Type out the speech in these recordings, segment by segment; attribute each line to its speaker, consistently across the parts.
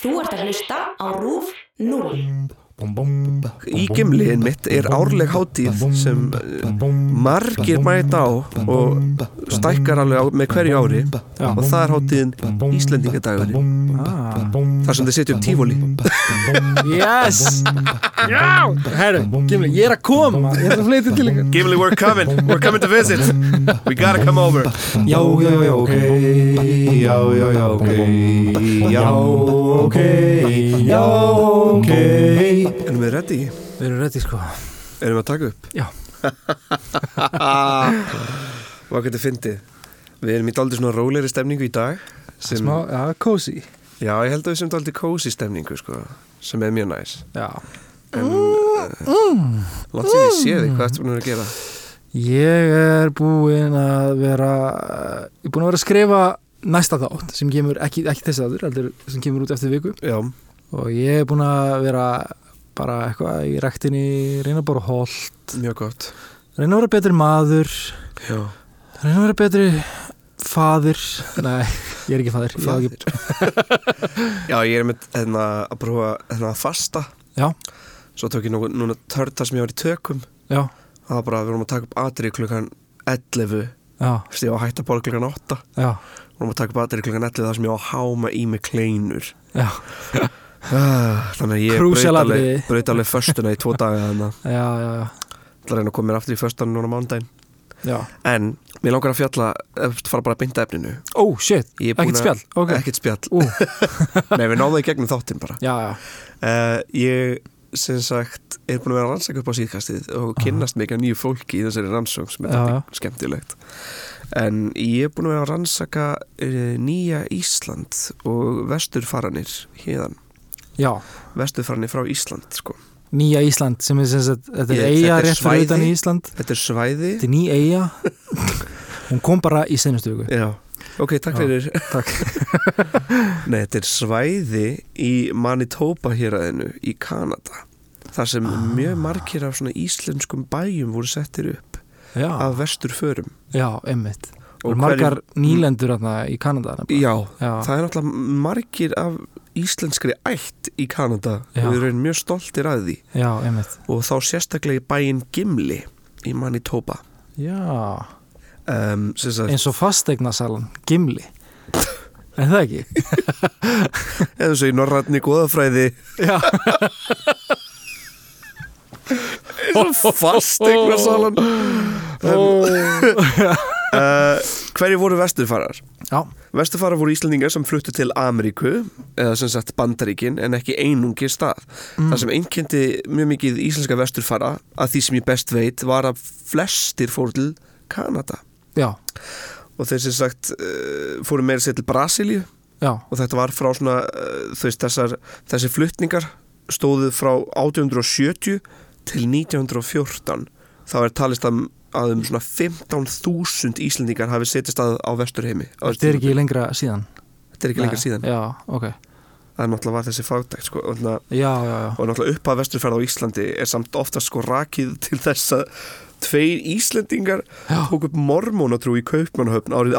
Speaker 1: Þú ert að hlusta á RÚF 0.
Speaker 2: Í gimliðin mitt er árleg hátíð sem eh, margir mæta á og stækkar alveg á, með hverju ári
Speaker 3: Já.
Speaker 2: og það er hátíðin Íslendingadagurinn
Speaker 3: Ah.
Speaker 2: þar sem þið setjum tífóli
Speaker 3: Yes Já Herru, Gimli, ég er að koma Ég er að flytja til ykkur
Speaker 2: Gimli, we're coming, we're coming to visit We gotta come over
Speaker 3: Já, já, já, ok Já, já, já, ok Já, ok Já, ok Við
Speaker 2: Erum við ready?
Speaker 3: erum ready sko
Speaker 2: Erum við að taka upp?
Speaker 3: Já.
Speaker 2: Hvað getur fyndið? Við erum í daldi svona rólegri stemningu í dag sem,
Speaker 3: Smá, já, cozy
Speaker 2: Já, ég held að við sem daldi kósi stemningu sko, sem er mjög næs
Speaker 3: Já
Speaker 2: Látt sem ég sé þig, hvað ertu búin að vera að gera?
Speaker 3: Ég er búinn að vera Ég er búinn að vera að skrifa næsta þátt sem kemur, ekki, ekki þessi þáttur heldur sem kemur út eftir viku
Speaker 2: Já,
Speaker 3: og ég er búinn að vera bara eitthvað í rektinni reyna að bara hól
Speaker 2: mjög gott
Speaker 3: reyna að vera betri maður
Speaker 2: Já,
Speaker 3: reyna að vera betri faðir nei, ég er ekki faðir, ég er ekki,
Speaker 2: Já ég er með hérna, að prófa hérna, að fasta
Speaker 3: Já.
Speaker 2: Svo tók ég nú, núna törta sem ég var í tökum
Speaker 3: já,
Speaker 2: Það var bara að við vorum að taka upp atrið klukkan 11
Speaker 3: já,
Speaker 2: Þessi ég var að hætta bara klukkan 8
Speaker 3: já,
Speaker 2: Við vorum að taka upp atrið klukkan 11 þar sem ég var að háma í mig kleinur
Speaker 3: já,
Speaker 2: Ah, Þannig að ég
Speaker 3: Crucial
Speaker 2: braut alveg,
Speaker 3: atriði.
Speaker 2: braut alveg föstuna í tvo daga þannig að
Speaker 3: já, já, já,
Speaker 2: það reyna að koma mér aftur í föstuna núna mándaginn
Speaker 3: já. En,
Speaker 2: En mér langar að fjalla, eh, fara bara að binda efninu
Speaker 3: ó, shit,
Speaker 2: Ég er búin
Speaker 3: ekkert
Speaker 2: að-
Speaker 3: spjall, ok,
Speaker 2: Ekkert spjall,
Speaker 3: ú,
Speaker 2: nei við náðum það í gegnum þáttinn bara
Speaker 3: já, já,
Speaker 2: uh, Ég, sem sagt, er búin að vera að rannsaka upp á síðkastið og kynnast mikið af nýju fólki í þessari rannsók sem er
Speaker 3: Já,
Speaker 2: uh. skemmtilegt En ég er búin að vera að rannsaka uh, nýja Ísland og vesturfaranir hérðan
Speaker 3: já
Speaker 2: Vesturfaranir frá Ísland, sko
Speaker 3: nýja Ísland sem er sem sagt, þetta er
Speaker 2: Ég-
Speaker 3: eiga
Speaker 2: þetta er
Speaker 3: rétt fyrir
Speaker 2: svæði.
Speaker 3: utan Ísland
Speaker 2: Þetta er svæði
Speaker 3: þetta er ný eiga hún kom bara í senustu viku
Speaker 2: Já, ok, takk
Speaker 3: Já,
Speaker 2: fyrir
Speaker 3: takk.
Speaker 2: Nei, þetta er svæði í Manitoba héraðinu í Kanada þar sem
Speaker 3: Ah.
Speaker 2: mjög margir af svona íslenskum bæjum voru settir upp
Speaker 3: já,
Speaker 2: af vesturförum
Speaker 3: já, einmitt og
Speaker 2: Og Mm.
Speaker 3: margar nýlendur þarna í Kanada nefnilega.
Speaker 2: Já,
Speaker 3: já,
Speaker 2: það er náttúrulega margir af íslenskri ætt í Kanada
Speaker 3: Já.
Speaker 2: og við erum mjög stoltir að því
Speaker 3: já, einmitt
Speaker 2: og þá sérstaklega í bæin Gimli í Manitoba
Speaker 3: já,
Speaker 2: um, sem sagt,
Speaker 3: eins og fastegnasalan, gimli en það ekki
Speaker 2: eða svo í norrætni góðafræði
Speaker 3: Já,
Speaker 2: fastegnasalan uh, Hverju voru vesturfarar?
Speaker 3: já,
Speaker 2: Vesturfara voru Íslandingar sem fluttu til Ameríku eða sem sagt Bandaríkin en ekki einungi stað. Það sem einkendi mjög mikið íslenska vesturfara að því sem ég best veit var að flestir fóru til Kanada
Speaker 3: já,
Speaker 2: og þeir sem sagt eh, fóru meira sér til Brasilíu
Speaker 3: já,
Speaker 2: og þetta var frá svona eh, þú veist þessar, þessi flutningar stóðu frá 1870 til 1914 þá er talist að, að um svona 15.000 Íslandingar hafi setjast að á vesturheimi. á þessu
Speaker 3: þetta er
Speaker 2: tímabili.
Speaker 3: ekki lengra síðan
Speaker 2: Þetta er ekki lengra
Speaker 3: Nei.
Speaker 2: síðan.
Speaker 3: Já, ok,
Speaker 2: það er náttúrulega var þessi fagdækt sko, og, na,
Speaker 3: já, já, já,
Speaker 2: og náttúrulega upphaf vesturferð á Íslandi er samt ofta sko rakið til þess að tveir Íslendingar
Speaker 3: Já.
Speaker 2: tók upp mormónatrú í Kaupmannahöfn árið 1851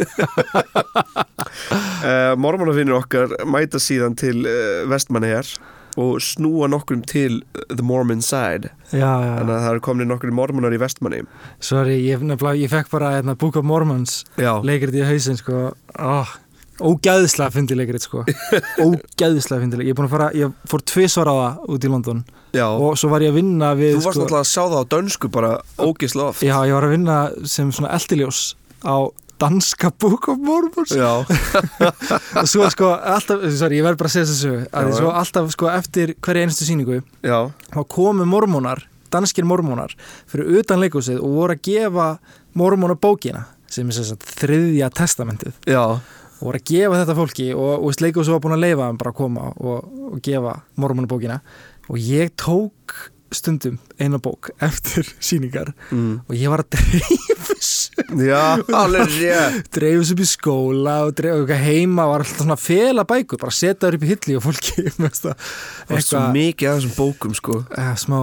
Speaker 2: uh, Mormónafinnir okkar mæta síðan til uh, vestmannegar og snúa nokkrum til eh, the Mormon side
Speaker 3: já, já,
Speaker 2: þannig að það eru komin nokkrum mormónar í vestmanni
Speaker 3: sorry, ég, nefnilega, ég fekk bara hérna, Book of Mormons
Speaker 2: Já,
Speaker 3: leikrit í hausinn, sko oh, ógæðislega fyndi leikrit, sko ógæðislega fyndi leikrit, ég er búin að fara ég fór tvisvar á það út í London
Speaker 2: já.
Speaker 3: og svo var ég að vinna við,
Speaker 2: þú varst
Speaker 3: sko
Speaker 2: náttúrulega að sjá það á dönsku bara ógisla oft
Speaker 3: já, ég var að vinna sem svona eldiljós á danska Book of Mormons
Speaker 2: Já.
Speaker 3: og svo sko alltaf, sorry, ég verð bara að segja þessu að
Speaker 2: Já,
Speaker 3: svo
Speaker 2: já.
Speaker 3: alltaf sko eftir hverja einstu síningu
Speaker 2: Já.
Speaker 3: þá komu mormónar, danskir mormónar fyrir utan leikúsið og voru að gefa mormóna bókina sem er sem sagt þriðja testamentið
Speaker 2: Já.
Speaker 3: og voru að gefa þetta fólki og, og leikúsið var búin að leifa þeim bara að koma og, og gefa mormóna bókina og ég tók stundum eina bók eftir síningar
Speaker 2: Mm.
Speaker 3: og ég var að dreifis
Speaker 2: Já, alveg rétt
Speaker 3: dreifis upp í skóla og dreifis upp heima var alltaf svona að fela bækur bara setja þær upp í hilli og fólki með þetta
Speaker 2: Það var svo mikið af þessum bókum sko
Speaker 3: Eh, smá,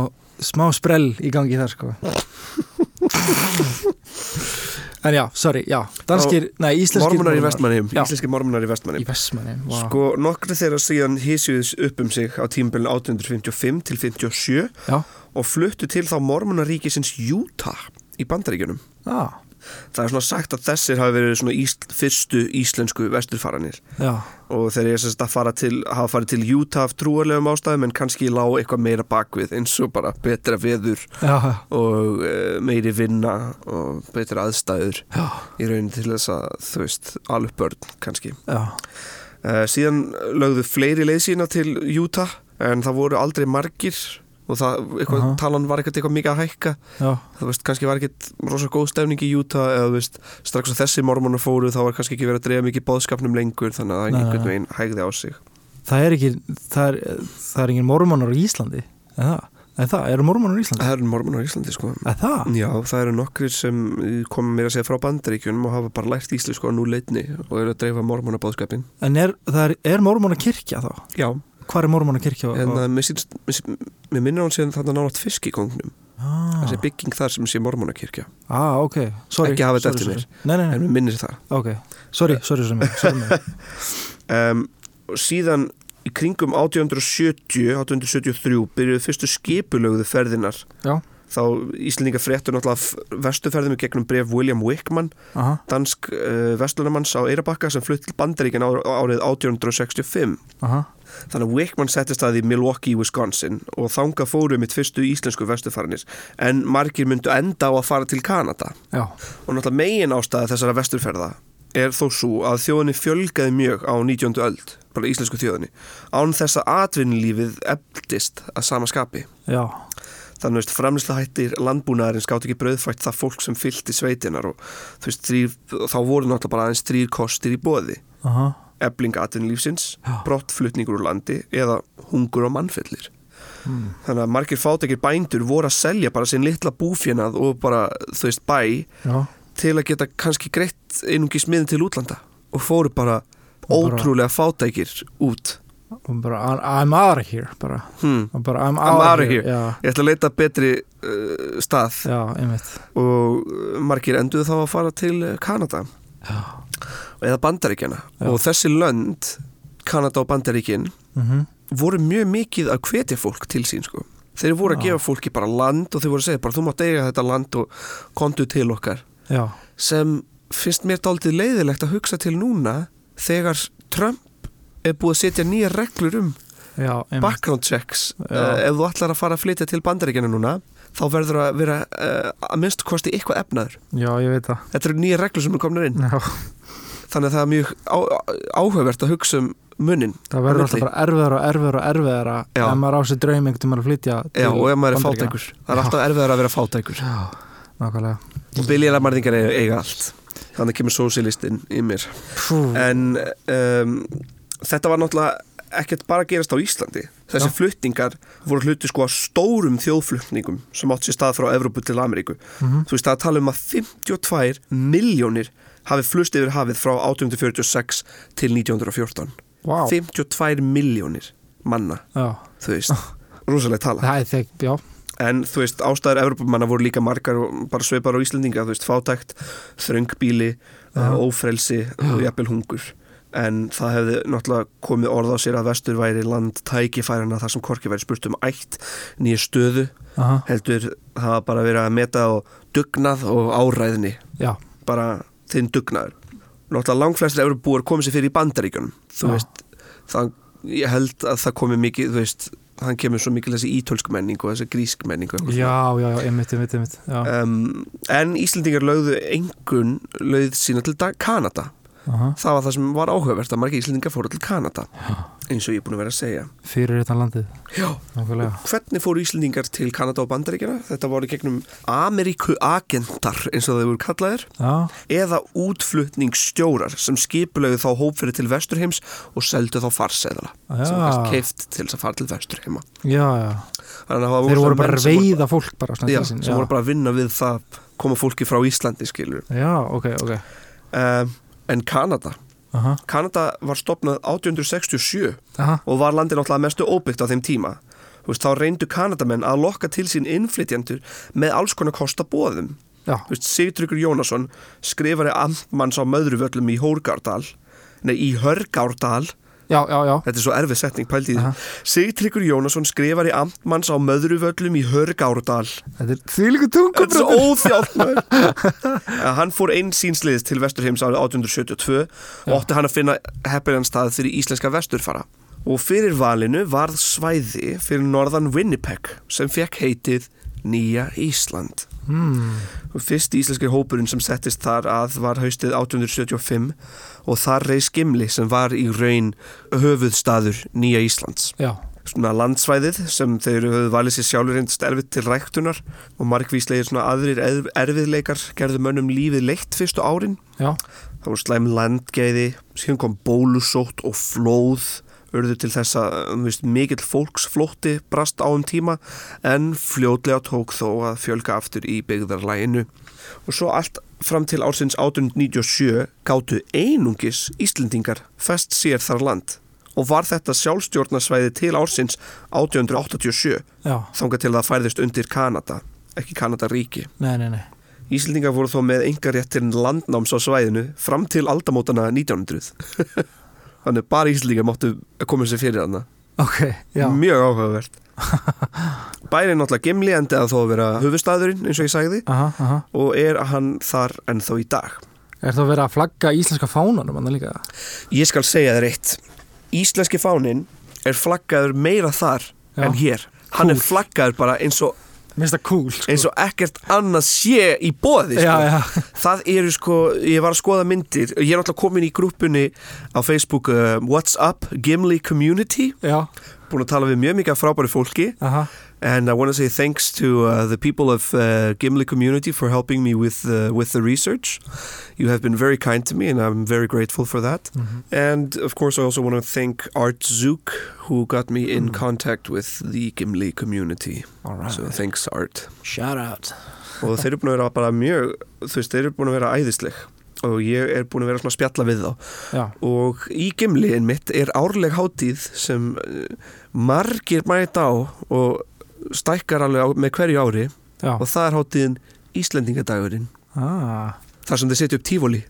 Speaker 3: smá sprell í gangi þar sko En já, sorry, já, danskir, nei, íslenskir
Speaker 2: Mormonar í Vestmannheim,
Speaker 3: Já.
Speaker 2: íslenski mormonar í Vestmannheim
Speaker 3: Í Vestmanni, vá
Speaker 2: Sko, nokkru þeirra síðan hísjuðis upp um sig á tímabilin 1855 til 57
Speaker 3: Já,
Speaker 2: og fluttu til þá mormonaríkisins Utah í Bandaríkjunum.
Speaker 3: já,
Speaker 2: Það er svona sagt að þessir hafi verið svona ísl, fyrstu íslensku vesturfaranir
Speaker 3: já,
Speaker 2: og þeir eru sérst að fara til, hafa farið til Utah af trúarlegum ástæðum en kannski lág eitthvað meira bakvið eins og bara betra veður
Speaker 3: já,
Speaker 2: og eh, meiri vinna og betra aðstæður
Speaker 3: já,
Speaker 2: í raunin til þess að, þú veist, alveg börn kannski.
Speaker 3: já,
Speaker 2: Eh, síðan lögðu fleiri leið sína til Utah en það voru aldrei margir og það, eitthvað,
Speaker 3: Aha.
Speaker 2: talan var ekkert eitthvað mikið að hækka
Speaker 3: já,
Speaker 2: þú veist, kannski var ekkert rosa góð stefning í Utah eða þú veist, strax að þessi mormonar fóru þá var kannski ekki verið að drefa mikið bóðskapnum lengur þannig að það
Speaker 3: Nei,
Speaker 2: einhvern
Speaker 3: nei,
Speaker 2: veginn hægði á sig
Speaker 3: Það er ekki, það er, það er engin mormonar í Íslandi En það, en það, eru mormonar í Íslandi?
Speaker 2: Það eru mormonar í Íslandi sko
Speaker 3: En það,
Speaker 2: Já, það eru nokkrir sem komum mér að segja frá bandaríkjunum og hafa bara lært íslensku á núleitni og eru að dreifa mormona bóðskapin
Speaker 3: en er, það er, er mormonar kirkja þá?
Speaker 2: Já,
Speaker 3: Hvað er mormonar kirkja?
Speaker 2: en það mér sýnst- mér sýnst- mér minnir hann séðan þarna nátt fisk í kongnum
Speaker 3: ah,
Speaker 2: þessi bygging þar sem sé mormonakirkja
Speaker 3: ah, ok, sorry
Speaker 2: Ekki hafa þetta
Speaker 3: sorry,
Speaker 2: eftir
Speaker 3: sorry. Nei, nei, nei,
Speaker 2: en mér minnir það
Speaker 3: ok, sorry, sorry, sorry, sorry, sorry.
Speaker 2: um, og síðan í kringum 1870 1873 byrjuðu fyrstu skipulögðu ferðinar
Speaker 3: Já,
Speaker 2: þá Íslendinga fréttur náttúrulega af vestuferðum í gegnum bref William Wickman
Speaker 3: aha,
Speaker 2: dansk uh, vestunumanns á Eirabakka sem flutt til Bandaríkjan á, árið 1865
Speaker 3: aha
Speaker 2: þannig að Wickman settist að í Milwaukee, Wisconsin og þanga fóru mitt fyrstu íslensku vestufarinir en margir myndu enda á að fara til Kanada
Speaker 3: Já,
Speaker 2: og náttúrulega megin ástæða þessara vesturferða er þó svo að þjóðinni fjölgaði mjög á 19. öld, bara íslensku þjóðinni án þess að atvinnulífið efldist að sama skapi
Speaker 3: já,
Speaker 2: þannig veist, framlýsla hættir landbúnaðarinn skátt ekki brauðfætt það fólk sem fylgti sveitinar og þú veist, þrýr, þá voru náttúrulega bara aðeins þrýr kostir í boði
Speaker 3: aha
Speaker 2: ebling atvinnulífsins,
Speaker 3: Já.
Speaker 2: brottflutningur úr landi eða hungur og mannfellir
Speaker 3: Hmm.
Speaker 2: þannig að margir fátekir bændur voru að selja bara sinn litla búfjönað og bara, þú veist, bæ
Speaker 3: Já,
Speaker 2: til að geta kannski greitt einungis miðin til útlanda og fóru bara
Speaker 3: Og bara-
Speaker 2: ótrúlega fátækir út
Speaker 3: og bara, I'm- I'm out of here bara,
Speaker 2: hmm.
Speaker 3: og bara I'm,
Speaker 2: I'm
Speaker 3: out
Speaker 2: outta here.
Speaker 3: Já,
Speaker 2: ég ætla að leita betri uh, stað
Speaker 3: já, einmitt
Speaker 2: og uh, margir enduðu þá að fara til uh, Kanada
Speaker 3: Já,
Speaker 2: eða Bandaríkjana
Speaker 3: Já.
Speaker 2: og þessi lönd Kanada og Bandaríkin
Speaker 3: mhm
Speaker 2: voru mjög mikið að hvetja fólk til sín sko. þeir voru að
Speaker 3: Já.
Speaker 2: gefa fólki bara land og þeir voru að segja bara þú mátt eiga þetta land og kontu til okkar
Speaker 3: Já,
Speaker 2: sem finnst mér dálítið leiðilegt að hugsa til núna þegar Trump er búið að setja nýja reglur um
Speaker 3: já, einmitt
Speaker 2: background checks uh,
Speaker 3: Já.
Speaker 2: ef þú ætlar að fara að flytja til bandaríkjana núna þá verður að vera uh, að minnstu kosti eitthvað efnaður.
Speaker 3: Já, ég veit það
Speaker 2: Þetta eru nýja reglur sem er komnar inn
Speaker 3: Já,
Speaker 2: þannig að það er mjög á, á- áhugavert að hugsa um munin
Speaker 3: það verður alltaf
Speaker 2: milli.
Speaker 3: bara erfiðara og erfiðara og erfiðara
Speaker 2: Já.
Speaker 3: ef maður á sér draum einhvern tímann að flytja
Speaker 2: Já, og ef maður er
Speaker 3: Bandaríkjanna.
Speaker 2: fátækur það er alltaf erfiðar að vera fátækur
Speaker 3: Já, nákvæmlega
Speaker 2: og biljilega marðingar eiga, eiga allt þannig kemur sósílistinn í mér
Speaker 3: Pú,
Speaker 2: en um, þetta var náttúrulega ekkert bara að gerast á Íslandi þessi
Speaker 3: Já.
Speaker 2: flutningar voru hluti sko að stórum þjóðflutningum sem átt sér stað frá Evrópu til Ameríku
Speaker 3: Mhm.
Speaker 2: þú veist það er að tala um að 52 miljónir hafi flust yfir hafið frá 1846 til 1914
Speaker 3: Vá,
Speaker 2: 52 miljónir manna
Speaker 3: já,
Speaker 2: þú veist,
Speaker 3: Ah.
Speaker 2: rosalega tala
Speaker 3: það er þeg, já
Speaker 2: en þú veist, ástæður Evrópumanna voru líka margar og bara sveipar á Íslendinga, þú veist, fátækt þröngbíli, uh, ófrelsi og jafnvel hungur en það hefði náttúrulega komið orð á sér að vestur væri land tækifærana þar sem Korki væri spurt um ætt nýja stöðu,
Speaker 3: Aha,
Speaker 2: heldur það var bara verið að meta á dugnað og áræðni,
Speaker 3: já,
Speaker 2: bara þinn dugnaður. Náttúrulega langflestir Evrópubúar komið sér fyrir í bandaríkjunum þú
Speaker 3: Já.
Speaker 2: veist, það, ég held að það komið mikið, þú veist hann kemur svo mikil þessi ítölsk menning og þessi grísk menning og eitthvað svona.
Speaker 3: já, já, já, einmitt, einmitt, einmitt Já,
Speaker 2: um, en Íslendingar lögðu engun lögð sína til Da- Kanada
Speaker 3: aha,
Speaker 2: það var það sem var áhugavert að margir Íslendingar fóru til Kanada eins og ég er búin að vera að segja
Speaker 3: fyrir þetta landið
Speaker 2: Já.
Speaker 3: Nákvæmlega,
Speaker 2: hvernig fóru Íslendingar til Kanada og Bandaríkjana þetta voru gegnum Ameríku agentar eins og þau voru kallaðir
Speaker 3: já,
Speaker 2: eða útflutningsstjórar sem skipulegu þá hópfyrir til vesturheims og seldu þá farseðala sem
Speaker 3: Já.
Speaker 2: var keift til þess að fara til vesturheima
Speaker 3: já, já
Speaker 2: Þannig að það
Speaker 3: Þeir voru bara
Speaker 2: menn
Speaker 3: að
Speaker 2: sem
Speaker 3: veiða fólk bara svona
Speaker 2: já,
Speaker 3: til sín,
Speaker 2: sem voru bara að vinna við það koma fólki frá Íslandi skilur
Speaker 3: Já, ok, ok
Speaker 2: um, en Kanada
Speaker 3: Aha,
Speaker 2: Kanada var stopnað 1867
Speaker 3: aha,
Speaker 2: og var landið náttúrulega mestu óbyggt á þeim tíma Þú veist, þá reyndu Kanadamenn að lokka til sín innflytjendur með alls konar kosta bóðum
Speaker 3: Já.
Speaker 2: Þú veist, Sigtryggur Jónasson skrifari amtmanns á Möðruvöllum í Hórgárdal nei, í Hörgárdal
Speaker 3: já, já, já,
Speaker 2: þetta er svo erfið setning, pældi í
Speaker 3: Aha.
Speaker 2: því Sigtryggur Jónasson skrifari amtmanns á Möðruvöllum í Hörgárdal
Speaker 3: þetta er því líka
Speaker 2: Þetta er
Speaker 3: tungubröður
Speaker 2: svo óþjátt maður. Eh, Hann fór einn sínsliðis til Vesturheims árið 1872 og átti hann að finna heppilegan stað fyrir íslenska vesturfara. Og fyrir valinu varð svæði fyrir norðan Winnipeg sem fekk heitið Nýja Ísland.
Speaker 3: mm.
Speaker 2: Og Fyrst íslenski hópurinn sem settist þar að var haustið 1875 og þar reis Gimli sem var í raun höfuðstaður Nýja Íslands
Speaker 3: Já,
Speaker 2: svona landsvæðið sem þeir höfðu valið sér sjálfur reyndist erfitt til ræktunar og markvíslegir svona aðrir erf- erfiðleikar gerðu mönnum lífið leitt fyrstu árin.
Speaker 3: já,
Speaker 2: Það voru slæm landgæði, síðan kom bólusótt og flóð urðu til þess að um, veist, mikill fólksflótti brast á um tíma en fljótlega tók þó að fjölga aftur í byggðarlæginu og svo allt fram til ársins 1897 gátu einungis Íslendingar fest sér þar land og var þetta sjálfstjórnarsvæði til ársins 1887
Speaker 3: já
Speaker 2: þangað til það færðist undir Kanada ekki Kanada ríki
Speaker 3: Nei, nei, nei
Speaker 2: Íslendingar voru þó með engar réttir landnáms á svæðinu fram til aldamótana 1900 þannig bara Íslendingar máttu koma sér fyrir þarna
Speaker 3: Ok, já,
Speaker 2: mjög áhugavert bæri náttúrulega Gimli endi að þó að vera höfustaðurinn eins og ég sagði
Speaker 3: aha, aha
Speaker 2: og er hann þar ennþá í dag
Speaker 3: Er það að vera að flagga íslenska fánanum annar líka?
Speaker 2: ég skal segja þér eitt Íslenski fáninn er flaggaður meira þar
Speaker 3: Já.
Speaker 2: en hér hann er
Speaker 3: Cool.
Speaker 2: flaggaður bara eins og,
Speaker 3: Mér finnst það cool, sko
Speaker 2: eins og ekkert annað sé í boði sko.
Speaker 3: Já, já,
Speaker 2: Það eru sko, ég var að skoða myndir Ég er náttúrulega komin í grúppunni á Facebook uh, What's Up Gimli Community
Speaker 3: já,
Speaker 2: Búin að tala við mjög mikið af frábæri fólki
Speaker 3: aha
Speaker 2: And I want to say thanks to uh, the people of uh, Gimli Community For helping me with, uh, with the research You have been very kind to me And I'm very grateful for that
Speaker 3: Mhm.
Speaker 2: And of course I also want to thank Art Zook Who got me in contact with the Gimli Community
Speaker 3: All right
Speaker 2: So thanks Art
Speaker 3: Shout out
Speaker 2: og þeir eru búin að vera bara mjög þú veist, þeir eru búin að vera æðisleg og ég er búin að vera svona að spjalla við þá
Speaker 3: Já,
Speaker 2: og í gemliðin mitt er árleg hátíð sem eh, margir mæta á og stækkar alveg á, með hverju ári
Speaker 3: já
Speaker 2: og það er hátíðin Íslendingadagurinn
Speaker 3: ah.
Speaker 2: þar sem þeir setja upp tífóli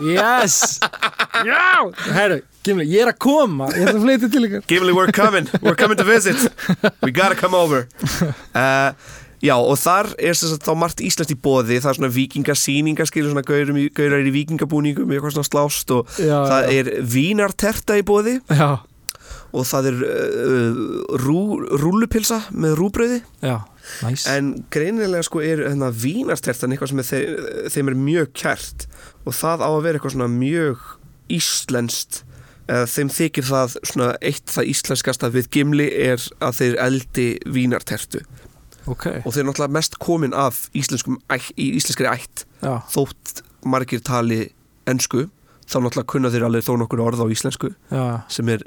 Speaker 3: Yes Já, herru, Gimli, ég er að koma Ég ætla að fleita til ykkar
Speaker 2: Gimli, we're coming, we're coming to visit We gotta come over uh, Já, og þar er sem sagt þá margt íslenskt í boði Það er svona vikingasýningar skilur svona gaurum í- gaurar í vikingabúningum eitthvað svona slást og
Speaker 3: Já,
Speaker 2: það
Speaker 3: já.
Speaker 2: er vínarterta í boði
Speaker 3: Já,
Speaker 2: og það er uh, rú, rúllupilsa með rúbröði
Speaker 3: já, næs
Speaker 2: en greinilega sko er hérna, vínartertan eitthvað sem er þeim, þeim er mjög kært og það á að vera eitthvað svona mjög íslenskt eða þeim þykir það svona eitt það íslenskasta við gimli er að þeir eldi vínartertu
Speaker 3: Ok,
Speaker 2: og þeir eru náttúrulega mest komin af íslenskum, ætt- í íslenskri ætt
Speaker 3: já,
Speaker 2: þótt margir tali ensku þá náttúrulega kunna þeir alveg þó nokkur orð á íslensku
Speaker 3: já,
Speaker 2: sem er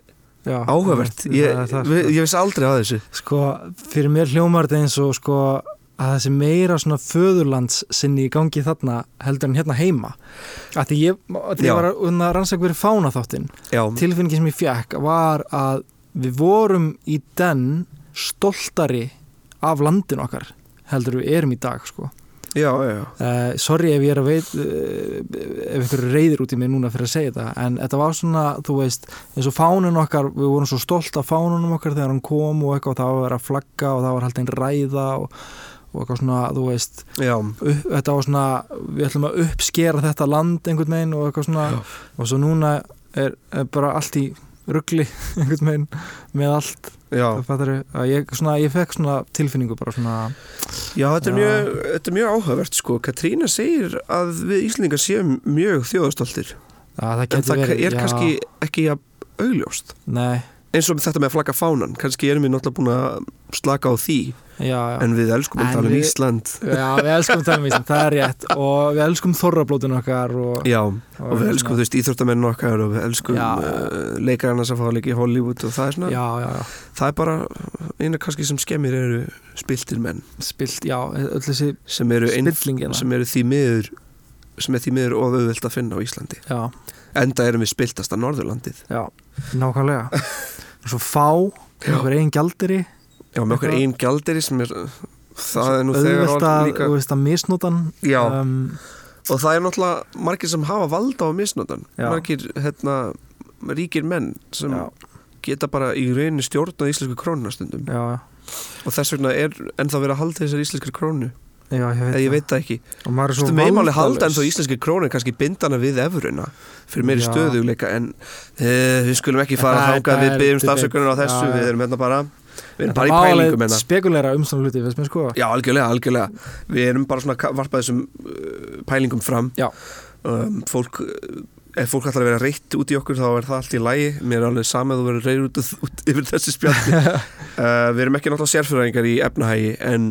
Speaker 3: já
Speaker 2: áhugavert
Speaker 3: Það-
Speaker 2: ég,
Speaker 3: það- það-
Speaker 2: vi- ég vissi aldrei að þessu
Speaker 3: Sko, fyrir mér hljómar þetta eins og sko að þessi meira svona föðurlands sinni í gangi þarna heldur en hérna heima að því ég, að því
Speaker 2: Já.
Speaker 3: ég var um að unna rannsaka verið fána þáttin
Speaker 2: já,
Speaker 3: tilfinningi sem ég fekk var að við vorum í den stoltari af landin okkar heldur en við erum í dag sko
Speaker 2: já, já,
Speaker 3: uh, sorry ef ég er að veit uh, ef ykkur er reyðir út í mig núna fyrir að segja þetta en þetta var svona, þú veist eins og fánun okkar, við vorum svo stolt af fánunum okkar þegar hann kom og eitthvað og það var að vera að flagga og það var haldin ræða og, og eitthvað svona, þú veist
Speaker 2: já,
Speaker 3: upp, þetta var svona, við ætlum að uppskera þetta land einhvern veginn og eitthvað svona
Speaker 2: Já.
Speaker 3: og svo núna er, er bara allt í ruggli einhvern veginn með allt,
Speaker 2: já.
Speaker 3: það fattar að ég svona, ég fekk svona tilfinningu bara svona,
Speaker 2: já þetta, er
Speaker 3: Já.
Speaker 2: mjög, þetta er mjög áhugavert sko. Katrína segir að við Íslendingar séum mjög þjóðastoltir
Speaker 3: að það
Speaker 2: en
Speaker 3: getur
Speaker 2: það
Speaker 3: verið
Speaker 2: er
Speaker 3: já,
Speaker 2: kannski ekki að augljóst
Speaker 3: nei,
Speaker 2: eins og þetta með að flagga fánan kannski erum við náttúrulega búin að slaka á því
Speaker 3: já, já.
Speaker 2: en við elskum
Speaker 3: En
Speaker 2: að tala um
Speaker 3: við-
Speaker 2: Ísland
Speaker 3: Já, við elskum tannvísin, það er rétt og við elskum þorrablótin okkar og, hérna-
Speaker 2: já, og við elskum þú veist íþróttamenn okkar og við elskum
Speaker 3: Já.
Speaker 2: uh, leikarana sem fá að leika í Hollywood og það er svona
Speaker 3: Já, já, já,
Speaker 2: það er bara eina kannski sem skemmir eru spiltir menn
Speaker 3: spilt, já, öll þessi hérna.
Speaker 2: sem eru, ein,
Speaker 3: spillingina
Speaker 2: sem eru því miður sem er því miður og auðvöld að finna á Íslandi
Speaker 3: Já,
Speaker 2: enda erum við spiltasta Norðurlandið
Speaker 3: já, nákvæmlega Svo fá,
Speaker 2: Já.
Speaker 3: einhver eigin gjaldiri
Speaker 2: já, með okkur
Speaker 3: Eitthvað-
Speaker 2: einn gjaldiri sem er það er nú þegar
Speaker 3: auðvelt
Speaker 2: orðið
Speaker 3: að,
Speaker 2: líka
Speaker 3: þú veist, að misnótan
Speaker 2: Já.
Speaker 3: um,
Speaker 2: og það er náttúrulega margir sem hafa valda á misnotan
Speaker 3: Já.
Speaker 2: margir hérna, ríkir menn sem
Speaker 3: já,
Speaker 2: geta bara í rauninni stjórnað íslensku krónuna stundum
Speaker 3: já,
Speaker 2: og þess vegna er ennþá verið að halda þessar íslenskri krónu
Speaker 3: já, ég veit,
Speaker 2: eða ég veit það ekki
Speaker 3: það. og maður er
Speaker 2: Þú
Speaker 3: svo
Speaker 2: meðum alveg halda
Speaker 3: valdalaus.
Speaker 2: ennþá íslenskri krónu en kannski bindana við evruna fyrir meiri
Speaker 3: Já.
Speaker 2: stöðugleika en uh, við skulum ekki fara að
Speaker 3: Það er-
Speaker 2: þáka
Speaker 3: það
Speaker 2: við
Speaker 3: er
Speaker 2: byggjum
Speaker 3: debate.
Speaker 2: stafsökunar á þessu
Speaker 3: Já, já.
Speaker 2: við erum hérna bara við
Speaker 3: En
Speaker 2: erum
Speaker 3: það
Speaker 2: bara í
Speaker 3: má alveg
Speaker 2: pælingum hérna
Speaker 3: spekulera um svona hluti, veist mér sko
Speaker 2: Já, algjörlega, algjörlega. Við erum bara svona að varpa þessum uh, pælingum fram.
Speaker 3: Já.
Speaker 2: Um, fólk, uh, ef fólk ætlar að vera reitt út í okkur þá er það allt í lægi. Mér er alveg sama að þú verður reyður út, út yfir þessi spjaldi. uh, við erum ekki náttúrulega sérfræðingar í efnahægi en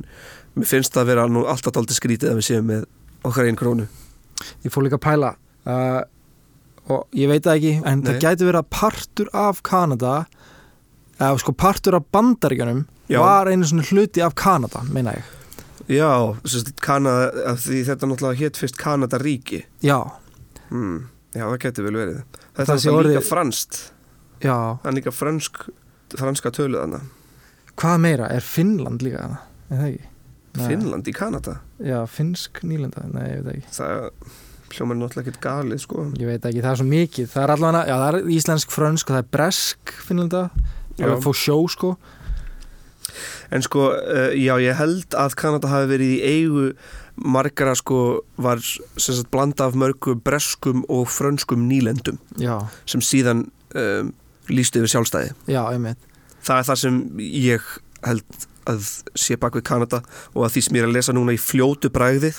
Speaker 2: mér finnst það að vera nú alltaf daldið skrítið að við séum með okkar einn krónu.
Speaker 3: ég fór líka að pæla uh, og ég veit það ekki en
Speaker 2: Nei.
Speaker 3: það gæti verið að partur af Kanada eða sko partur af bandaríkjunum
Speaker 2: Já.
Speaker 3: var einu svona hluti af Kanada, meina ég
Speaker 2: Já, sérst, Kanada, af því þetta náttúrulega hétt fyrst Kanadaríki.
Speaker 3: já,
Speaker 2: Hmm. Já, það getur vel verið. Þetta
Speaker 3: Það
Speaker 2: er
Speaker 3: sé
Speaker 2: náttúrulega líka
Speaker 3: orðið-
Speaker 2: franskt.
Speaker 3: já,
Speaker 2: Það er líka fransk, franska töluð hana.
Speaker 3: hvað meira er Finnland líka þarna, er það ekki? Nei.
Speaker 2: Finnland í Kanada.
Speaker 3: já, finnsk nýlenda, nei, ég veit það ekki
Speaker 2: það hljómar náttúrulega ekkert galið sko
Speaker 3: ég veit það ekki, það er svo mikið, það er allavega já, það er íslensk, frönsk, það er bresk Finnlanda, það
Speaker 2: Já.
Speaker 3: er fó sjó sko
Speaker 2: en sko, uh, já ég held að Kanada hafi verið í eigu margara sko var sem sagt blanda af mörgu breskum og frönskum nýlendum
Speaker 3: já,
Speaker 2: sem síðan um, lístu yfir sjálfstæði
Speaker 3: já, einmitt
Speaker 2: það er það sem ég held að sé bak við Kanada og að því sem ég er að lesa núna í fljótu bragði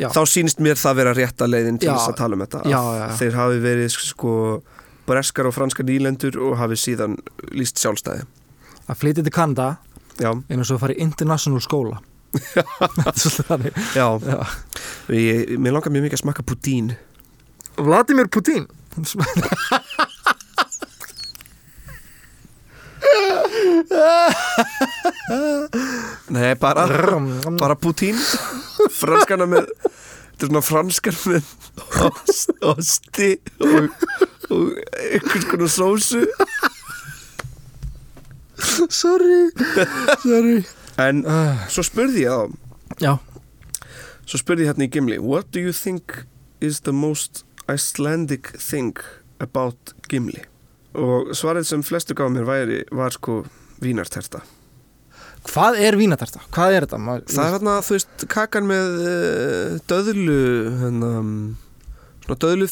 Speaker 3: já,
Speaker 2: þá sýnist mér það vera rétta leiðin til
Speaker 3: Já.
Speaker 2: þess að tala um þetta
Speaker 3: já,
Speaker 2: Að
Speaker 3: já,
Speaker 2: þeir hafi verið sko breskar og franskar nýlendur og hafi síðan líst sjálfstæði
Speaker 3: að flytja til Kanada
Speaker 2: já,
Speaker 3: en þess að fara í international skóla Þetta er svolítið þannig.
Speaker 2: já
Speaker 3: Já.
Speaker 2: Ég, mér langar mjög mikið að smakka pudín
Speaker 3: Vladimir Putin
Speaker 2: Nei, bara,
Speaker 3: bara
Speaker 2: bara pudín Franskana með Þetta er svona franskar með ost, Osti og, og einhvers konar sósu
Speaker 3: sorry, sorry.
Speaker 2: En
Speaker 3: Uh,
Speaker 2: svo spurði ég þá
Speaker 3: já,
Speaker 2: Svo spurði ég hérna í Gimli What do you think is the most Icelandic thing about Gimli? Og svarið sem flestu gaf mér væri var sko vínarterta
Speaker 3: hvað er vínatarta? Hvað er þetta? Ma,
Speaker 2: Það er hérna, þú veist, kakan með uh, döðlu hérna, mm, svona döðlu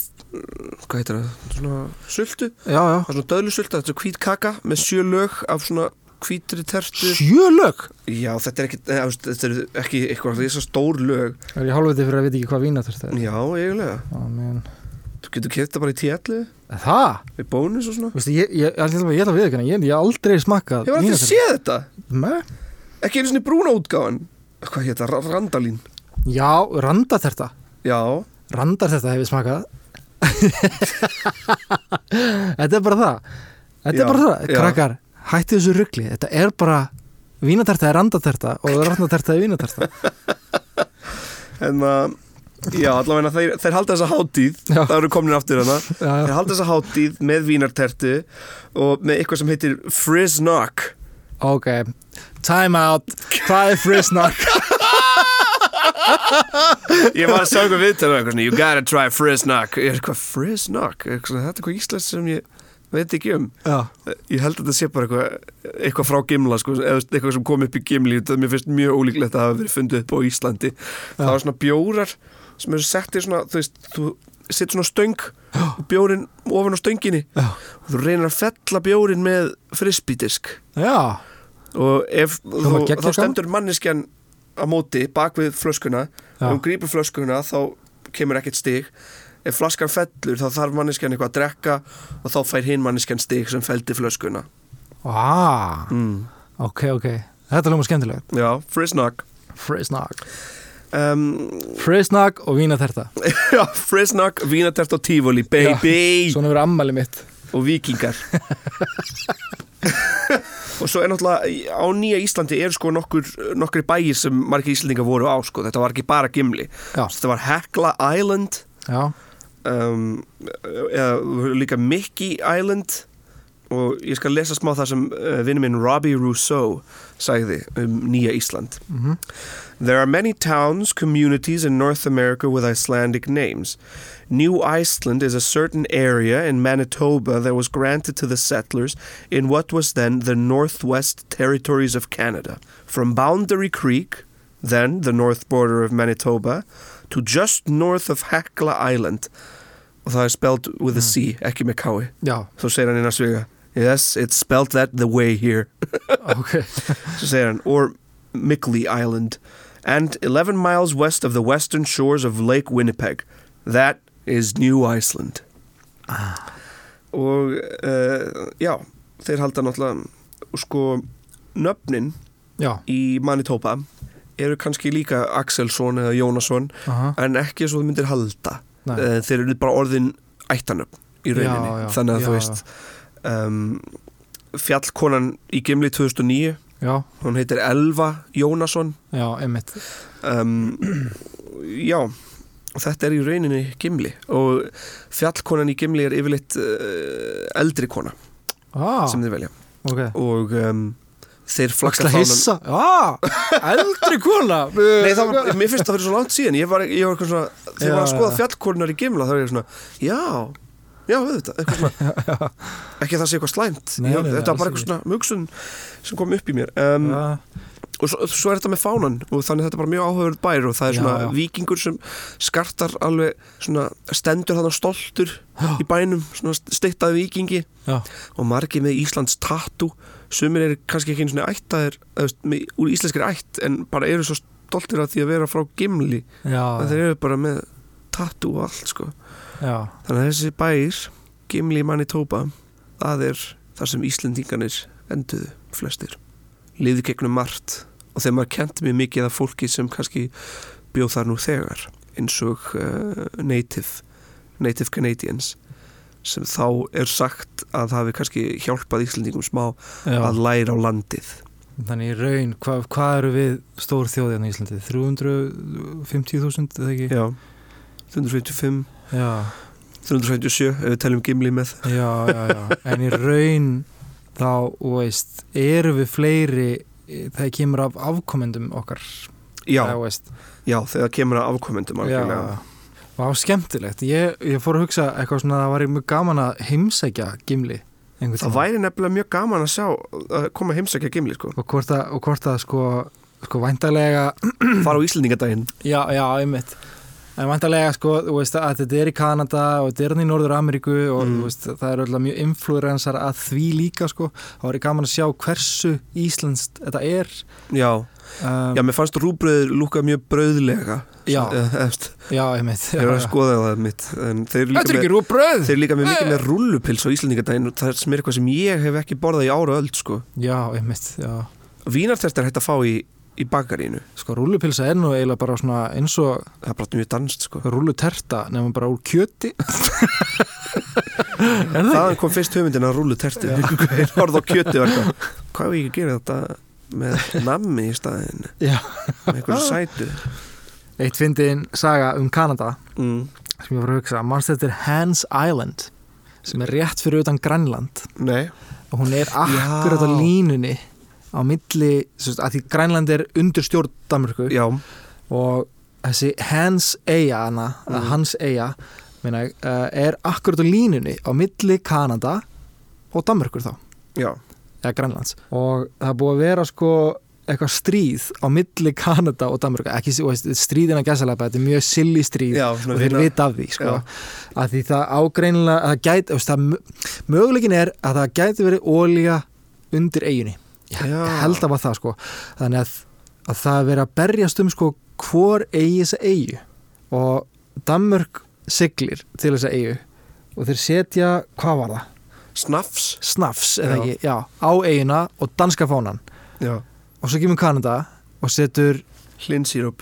Speaker 2: hvað heitir það, svona sultu það
Speaker 3: Já, já
Speaker 2: er svona döðlu sulta, þetta er hvít kaka með sjö lög af svona hvítri tertu
Speaker 3: Sjölög?
Speaker 2: Já, þetta er ekki, eða, þú veist, þetta er ekki eitthvað þess að stór lög
Speaker 3: Það er í hálfviti fyrir að vita ekki hvað vínatarta er
Speaker 2: Já, eiginlega,
Speaker 3: Ó, man.
Speaker 2: þú getur keft það bara í tjallu
Speaker 3: Það?
Speaker 2: við bónus og svona
Speaker 3: Vistu, ég, ég, ég, ætla- ég ætla að viðkynna, ég, ég hef aldrei smakkað
Speaker 2: Ég var alltaf að sé þetta,
Speaker 3: séð
Speaker 2: ekki einu svona brúna útgáfan Hvað hétt það, randalín
Speaker 3: Já, randaterta
Speaker 2: Já,
Speaker 3: Randaterta hef ég smakkað Þetta er bara það Þetta
Speaker 2: Já,
Speaker 3: er bara það,
Speaker 2: já.
Speaker 3: krakkar Hætti þessu ruggli, þetta er bara Vínaterta er randaterta og randaterta er vínaterta
Speaker 2: en að Hérna, Já, allavega þeir, þeir halda þessa hátíð
Speaker 3: Já.
Speaker 2: Það eru komnir aftur hana
Speaker 3: Já,
Speaker 2: Þeir
Speaker 3: já.
Speaker 2: halda þessa hátíð með vínartertu og með eitthvað sem heitir Friznock
Speaker 3: Ok, time out Hvað er frisnark?
Speaker 2: Ég var að sjá eitthvað viðtölu og eitthvað svona You gotta try Friznock Ég er eitthvað Friznock Eitthvað svona, Þetta er eitthvað íslensk sem ég veit ekki um
Speaker 3: Já,
Speaker 2: Ég held að þetta sé bara eitthvað eitthvað frá gimla sko, eða eitthvað sem kom upp í gimli þetta mér finnst mjög ólíklegt að hafa verið fundið upp á Íslandi Það var svona bjórar sem eru settir svona þú veist, þú setur svona stöng og bjórin ofan á stönginni
Speaker 3: já,
Speaker 2: og þú reynir að fella bjórin með frisbydisk
Speaker 3: já.
Speaker 2: og ef
Speaker 3: var
Speaker 2: þú,
Speaker 3: geggjað
Speaker 2: þá stendur manneskjan á móti bak við flöskuna
Speaker 3: Já.
Speaker 2: og hún grýpur flöskuna þá kemur ekkert stig ef flaskan fellur þá þarf manneskjan eitthvað að drekka og þá fær hinn manneskjan stig sem feldi flöskuna
Speaker 3: Ah,
Speaker 2: mm.
Speaker 3: ok, ok Þetta er ljóma skemmtilegt
Speaker 2: já, frisnag
Speaker 3: Frisnark
Speaker 2: um,
Speaker 3: Frisnark og vínaterta
Speaker 2: já, frisnag, vínatert og tífóli baby
Speaker 3: Svona verið ammæli mitt
Speaker 2: og vikingar og svo er náttúrulega í- á nýja Íslandi er sko nokkur, nokkur bæir sem margir Íslandingar voru á sko, þetta var ekki bara gimli
Speaker 3: Já,
Speaker 2: þetta var Hekla Island
Speaker 3: já,
Speaker 2: um, eða líka Mickey Island og ég skal lesa smá það sem uh, vinnu minn Robbie Rousseau sagði um nýja Ísland
Speaker 3: Mhm.
Speaker 2: There are many towns, communities in North America with Icelandic names. New Iceland is a certain area in Manitoba that was granted to the settlers in what was then the Northwest Territories of Canada. From Boundary Creek, then the north border of Manitoba, to just north of Hecla Island. Og það er spelt with a C, ekki með kái.
Speaker 3: já,
Speaker 2: Svo segir hann innan sviga, yes, it's spelt that the way here.
Speaker 3: ok
Speaker 2: Svo segir hann, or Mickley Island and 11 miles west of the western shores of Lake Winnipeg that is New Iceland og uh, já, þeir halda náttúrulega sko nöfnin
Speaker 3: já,
Speaker 2: í Manitoba eru kannski líka Axelsson eða Jónasson
Speaker 3: aha,
Speaker 2: en ekki eins og þú myndir halda
Speaker 3: Nei.
Speaker 2: uh, þeir eru bara orðin ættanöfn í rauninni
Speaker 3: Já, já,
Speaker 2: þannig að
Speaker 3: já,
Speaker 2: þú veist um, fjallkonan í Gimli 2009
Speaker 3: já,
Speaker 2: hún heitir Elva Jónasson
Speaker 3: já, einmitt
Speaker 2: um, já þetta er í rauninni gimli og fjallkonan í gimli er yfirleitt uh, eldri kona
Speaker 3: ah,
Speaker 2: sem þeir velja
Speaker 3: ok
Speaker 2: og um, þeir flakka
Speaker 3: Slagslega hissa Já, eldri kona
Speaker 2: Nei, það var, mér finnst það fyrir svo langt síðan ég var, ég var eitthvað svona, þegar
Speaker 3: Já,
Speaker 2: ég var að skoða
Speaker 3: já.
Speaker 2: fjallkonunar í gimla þá er ég svona, já, já, auðvitað eitthvað svona, ekki að það sé eitthvað slæmt ég,
Speaker 3: Nei, nei, nei,
Speaker 2: þetta var bara
Speaker 3: alls
Speaker 2: eitthvað svona mugsun sem kom upp í mér um,
Speaker 3: Já,
Speaker 2: og svo, svo er þetta með fánan og þannig þetta er bara mjög áhugaverð bær og það er
Speaker 3: Já,
Speaker 2: svona
Speaker 3: já.
Speaker 2: vikingur sem skartar alveg svona stendur þannig stoltur í bænum, svona steittað vikingi
Speaker 3: já,
Speaker 2: og margir með Íslands tattu sumir eru kannski ekki einu svona ættaðir eða, þú veist, með, úr íslenskir ætt en bara eru svo stoltir af því að vera frá gimli
Speaker 3: já,
Speaker 2: að þeir eru bara með tattu og allt sko
Speaker 3: já,
Speaker 2: þannig að þessi bær, gimli manni tópa það er þar sem Íslendinganir enduðu flestir liði gegnum margt og þegar maður kent mér mikið af fólki sem kannski bjóð þar nú þegar eins og uh, native native Canadians sem þá er sagt að hafi kannski hjálpað Íslendingum smá
Speaker 3: já.
Speaker 2: að læra á landið
Speaker 3: Þannig í raun, hva, hvað eru við stór þjóðið hérna í Íslandi? 350.000 eða ekki?
Speaker 2: Já 355,
Speaker 3: Já,
Speaker 2: 357 ef við teljum gimli með
Speaker 3: já, já, já. En í raun þá, þú veist, eru við fleiri eh, þegar kemur af afkomendum okkar
Speaker 2: Já,
Speaker 3: eða, þú veist,
Speaker 2: já þegar kemur að afkomendum
Speaker 3: já,
Speaker 2: algjörlega.
Speaker 3: Vá, skemmtilegt ég, ég fór að hugsa eitthvað svona að það væri mjög gaman að heimsækja gimli einhvern
Speaker 2: Það
Speaker 3: tímann.
Speaker 2: væri nefnilega mjög gaman að sjá að koma að heimsækja gimli sko
Speaker 3: og hvort að, og hvort að sko, sko væntalega
Speaker 2: fara á Íslendingadaginn
Speaker 3: já, já, einmitt en væntalega sko, þú veist að þetta er í Kanada og þetta er hann í Norður Ameríku og
Speaker 2: Mm.
Speaker 3: þú veist, það er alltaf mjög influensar að því líka sko, þá er ég gaman að sjá hversu íslenskt þetta er
Speaker 2: Já,
Speaker 3: um,
Speaker 2: já, mér fannst rúbröður lúka mjög brauðlega
Speaker 3: Já.
Speaker 2: Eh, efst,
Speaker 3: já, einmitt já,
Speaker 2: Ég var að
Speaker 3: já.
Speaker 2: skoða það mitt En þeir eru líka
Speaker 3: Þetta er
Speaker 2: með,
Speaker 3: ekki rúbröð
Speaker 2: þeir eru líka með mikið með rúllupils á Íslendingadaginn og Það er sem er eitthvað sem ég hef ekki borðað í ára öld sko
Speaker 3: Já, einmitt, já
Speaker 2: Vínartest er hægt að fá í, í bakarínu
Speaker 3: Sko rúllupilsa er nú eiginlega bara svona eins og
Speaker 2: Það er bara mjög danst sko
Speaker 3: rúlluterta nefnum bara úr kjöti Er það
Speaker 2: Þaðan kom fyrst höfundin að rúllutertu Þeir horfðu á kjöti og eitthvað Hvað við ekki að gera þetta með nammi í staðin
Speaker 3: Já.
Speaker 2: Með einhverju sætu
Speaker 3: Eitt fyndin saga um Kanada
Speaker 2: mm.
Speaker 3: sem ég var að hugsa, mannst þetta er Hans Island sem er rétt fyrir utan Grænland
Speaker 2: Nei
Speaker 3: og hún er akkurat á
Speaker 2: Já.
Speaker 3: línunni á milli, sem sagt, að því Grænland er undir stjórn Danmörku
Speaker 2: Já,
Speaker 3: og þessi Hans Eyja hana,
Speaker 2: Mm.
Speaker 3: mm. Hans Eyja meina, ég, uh, er akkurat á línunni á milli Kanada og Danmörkur þá
Speaker 2: já
Speaker 3: eða Grænlands og það er búið að vera sko eitthvað stríð á milli Kanada og Danmörk ekki þú veist, stríðina gæsalega þetta er mjög silly stríð
Speaker 2: Já, svona
Speaker 3: og þeir
Speaker 2: vinna-
Speaker 3: vita af því sko,
Speaker 2: Já.
Speaker 3: að því það ágreinlega það gæti, þú veist, það mö- möguleikin er að það gæti verið ólíja undir eiginni ég,
Speaker 2: Já.
Speaker 3: ég held að var það sko þannig að, að það er verið að berjast um sko hvor eigi þessa eigu og Danmörk siglir til þessa eigu og þeir setja, hvað var það?
Speaker 2: Snafs
Speaker 3: snafs eða
Speaker 2: Já.
Speaker 3: ekki, já, á eigina og danska fánan
Speaker 2: Já
Speaker 3: og svo kemur Kanada og setur
Speaker 2: Hlinsýrup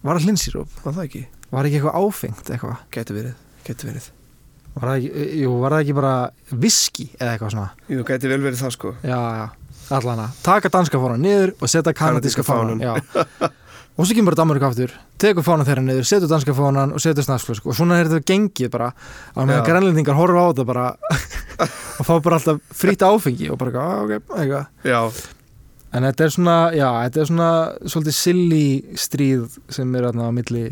Speaker 3: var það hlinsýrúf,
Speaker 2: Var það ekki?
Speaker 3: var ekki eitthvað áfengt eitthvað
Speaker 2: Gæti verið, gæti verið
Speaker 3: Var það ekki, e, jú, var það ekki bara viski eða eitthvað svona?
Speaker 2: Jú, gæti vel verið það sko
Speaker 3: Já, já, allan að taka danska fánan niður og setja kanadíska
Speaker 2: Kanadíska
Speaker 3: fánan. Já. Og svo kemur bara Danmark aftur, tekur fánan þeirra niður, setur danska fánan og setur snarflösk og svona er þetta gengið bara að meðan
Speaker 2: Já.
Speaker 3: grænlendingar horfa á þetta bara og fá bara alltaf frýtt áfengi og bara "Ah, ok, eitthvað.
Speaker 2: Já,
Speaker 3: En þetta er svona, já, þetta er svona svolítið silly stríð sem er aðna á milli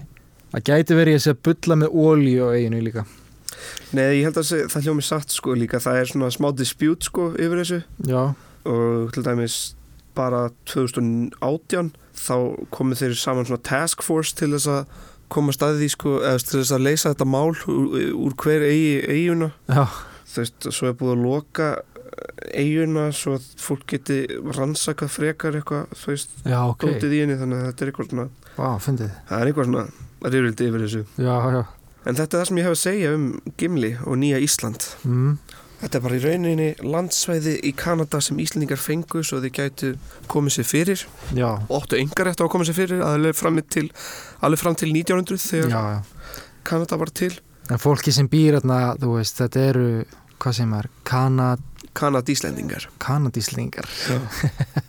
Speaker 3: að gæti verið að sé að bulla með ólíu á eiginu líka.
Speaker 2: nei, ég held að sé- það hljómi satt sko líka Það er svona smá dispjút sko yfir þessu
Speaker 3: Já,
Speaker 2: og til dæmis bara 2018 þá komu þeir saman svona task force til þess að koma staðið í sko, eða til þess að leysa þetta mál úr, úr hver eigi, eiguna
Speaker 3: já,
Speaker 2: þú veist, svo er búið að loka eiguna svo að fólk geti rannsakað frekar eitthvað, þú veist,
Speaker 3: já, ok.
Speaker 2: okay. í henni þannig að þetta er eitthvað svona,
Speaker 3: Vá, fyndið.
Speaker 2: það er eitthvað svona rifrildi yfir þessu,
Speaker 3: Já, já.
Speaker 2: en þetta er það sem ég hef að segja um Gimli og Nýja Ísland
Speaker 3: Mm.
Speaker 2: Þetta er bara í rauninni landsvæði í Kanada sem Íslendingar fengu svo þið gætu komið sér fyrir
Speaker 3: Já,
Speaker 2: óttu engar eftir að koma sér fyrir alveg fram til, alveg fram til 1900 þegar
Speaker 3: já, já.
Speaker 2: Kanada var til
Speaker 3: En fólki sem býr þarna, þú veist, þetta eru, hvað sem er, kanad,
Speaker 2: Kanadíslendingar
Speaker 3: kanadíslingar.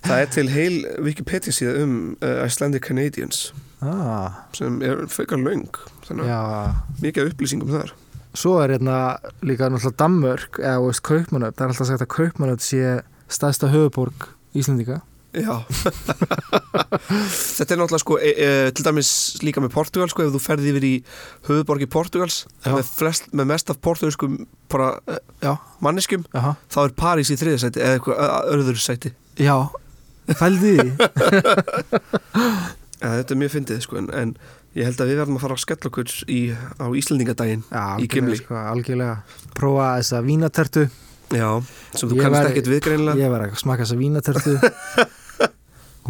Speaker 2: Það er til heil Wikipedia síða um uh, Icelandic Canadians
Speaker 3: Ah,
Speaker 2: sem er fekar löng þannig að
Speaker 3: já.
Speaker 2: mikið af upplýsingum þar
Speaker 3: Svo er hérna líka náttúrulega Danmörk, eða, þú veist, Kaupmannöfn, það er alltaf sagt að Kaupmannöfn sé staðsta höfuborg Íslendinga.
Speaker 2: Já Þetta er náttúrulega sko e, e, til dæmis líka með Portugal sko ef þú ferði yfir í höfuborgi Portugals
Speaker 3: Já.
Speaker 2: með, flest, með mest af portugalskum bara eh,
Speaker 3: Já.
Speaker 2: manneskum
Speaker 3: Jaha.
Speaker 2: þá er París í þriðasæti eða eitthvað öðru sæti
Speaker 3: Já, fældi því.
Speaker 2: Ja, þetta er mjög fyndið sko en, en ég held að við verðum að fara að skella okkur í, á Íslandingadaginn
Speaker 3: Já,
Speaker 2: Í
Speaker 3: algjörlega,
Speaker 2: Gimli.
Speaker 3: Sko, algjörlega. Prófa þessa vínatertu.
Speaker 2: Já, sem þú
Speaker 3: Ég
Speaker 2: kannast
Speaker 3: væri-
Speaker 2: ekkert við greinlega
Speaker 3: Ég var að smaka þessa vínatertu.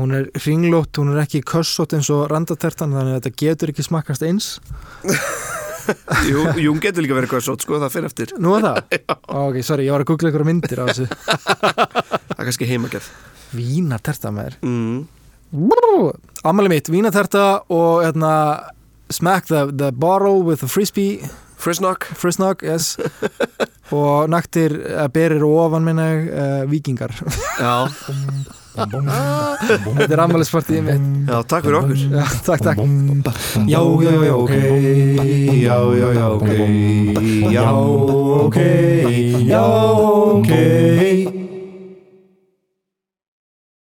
Speaker 3: hún er ringlótt, hún er ekki kössótt eins og randatertan, þannig að þetta getur ekki smakast eins.
Speaker 2: Jú, jú, hún getur líka verið eitthvað svo sko, það fer eftir
Speaker 3: Nú er það? ok, sorry, ég var að googla ykkur myndir á þessu.
Speaker 2: Það er kannski heimagerð
Speaker 3: Vínaterta maður.
Speaker 2: mm.
Speaker 3: Ammali mitt, vínaterta og hérna, smack the, the bottle with the frisbee,
Speaker 2: Frisnock
Speaker 3: frisnog, yes. og naktir að berir og ofan minna uh, vikingar.
Speaker 2: Já.
Speaker 3: Þetta er ammali spartið mitt.
Speaker 2: Já, takk fyrir okkur
Speaker 3: Já, takk, takk.
Speaker 4: Já, já, já, ok Já, já, já, ok Já, ok Já,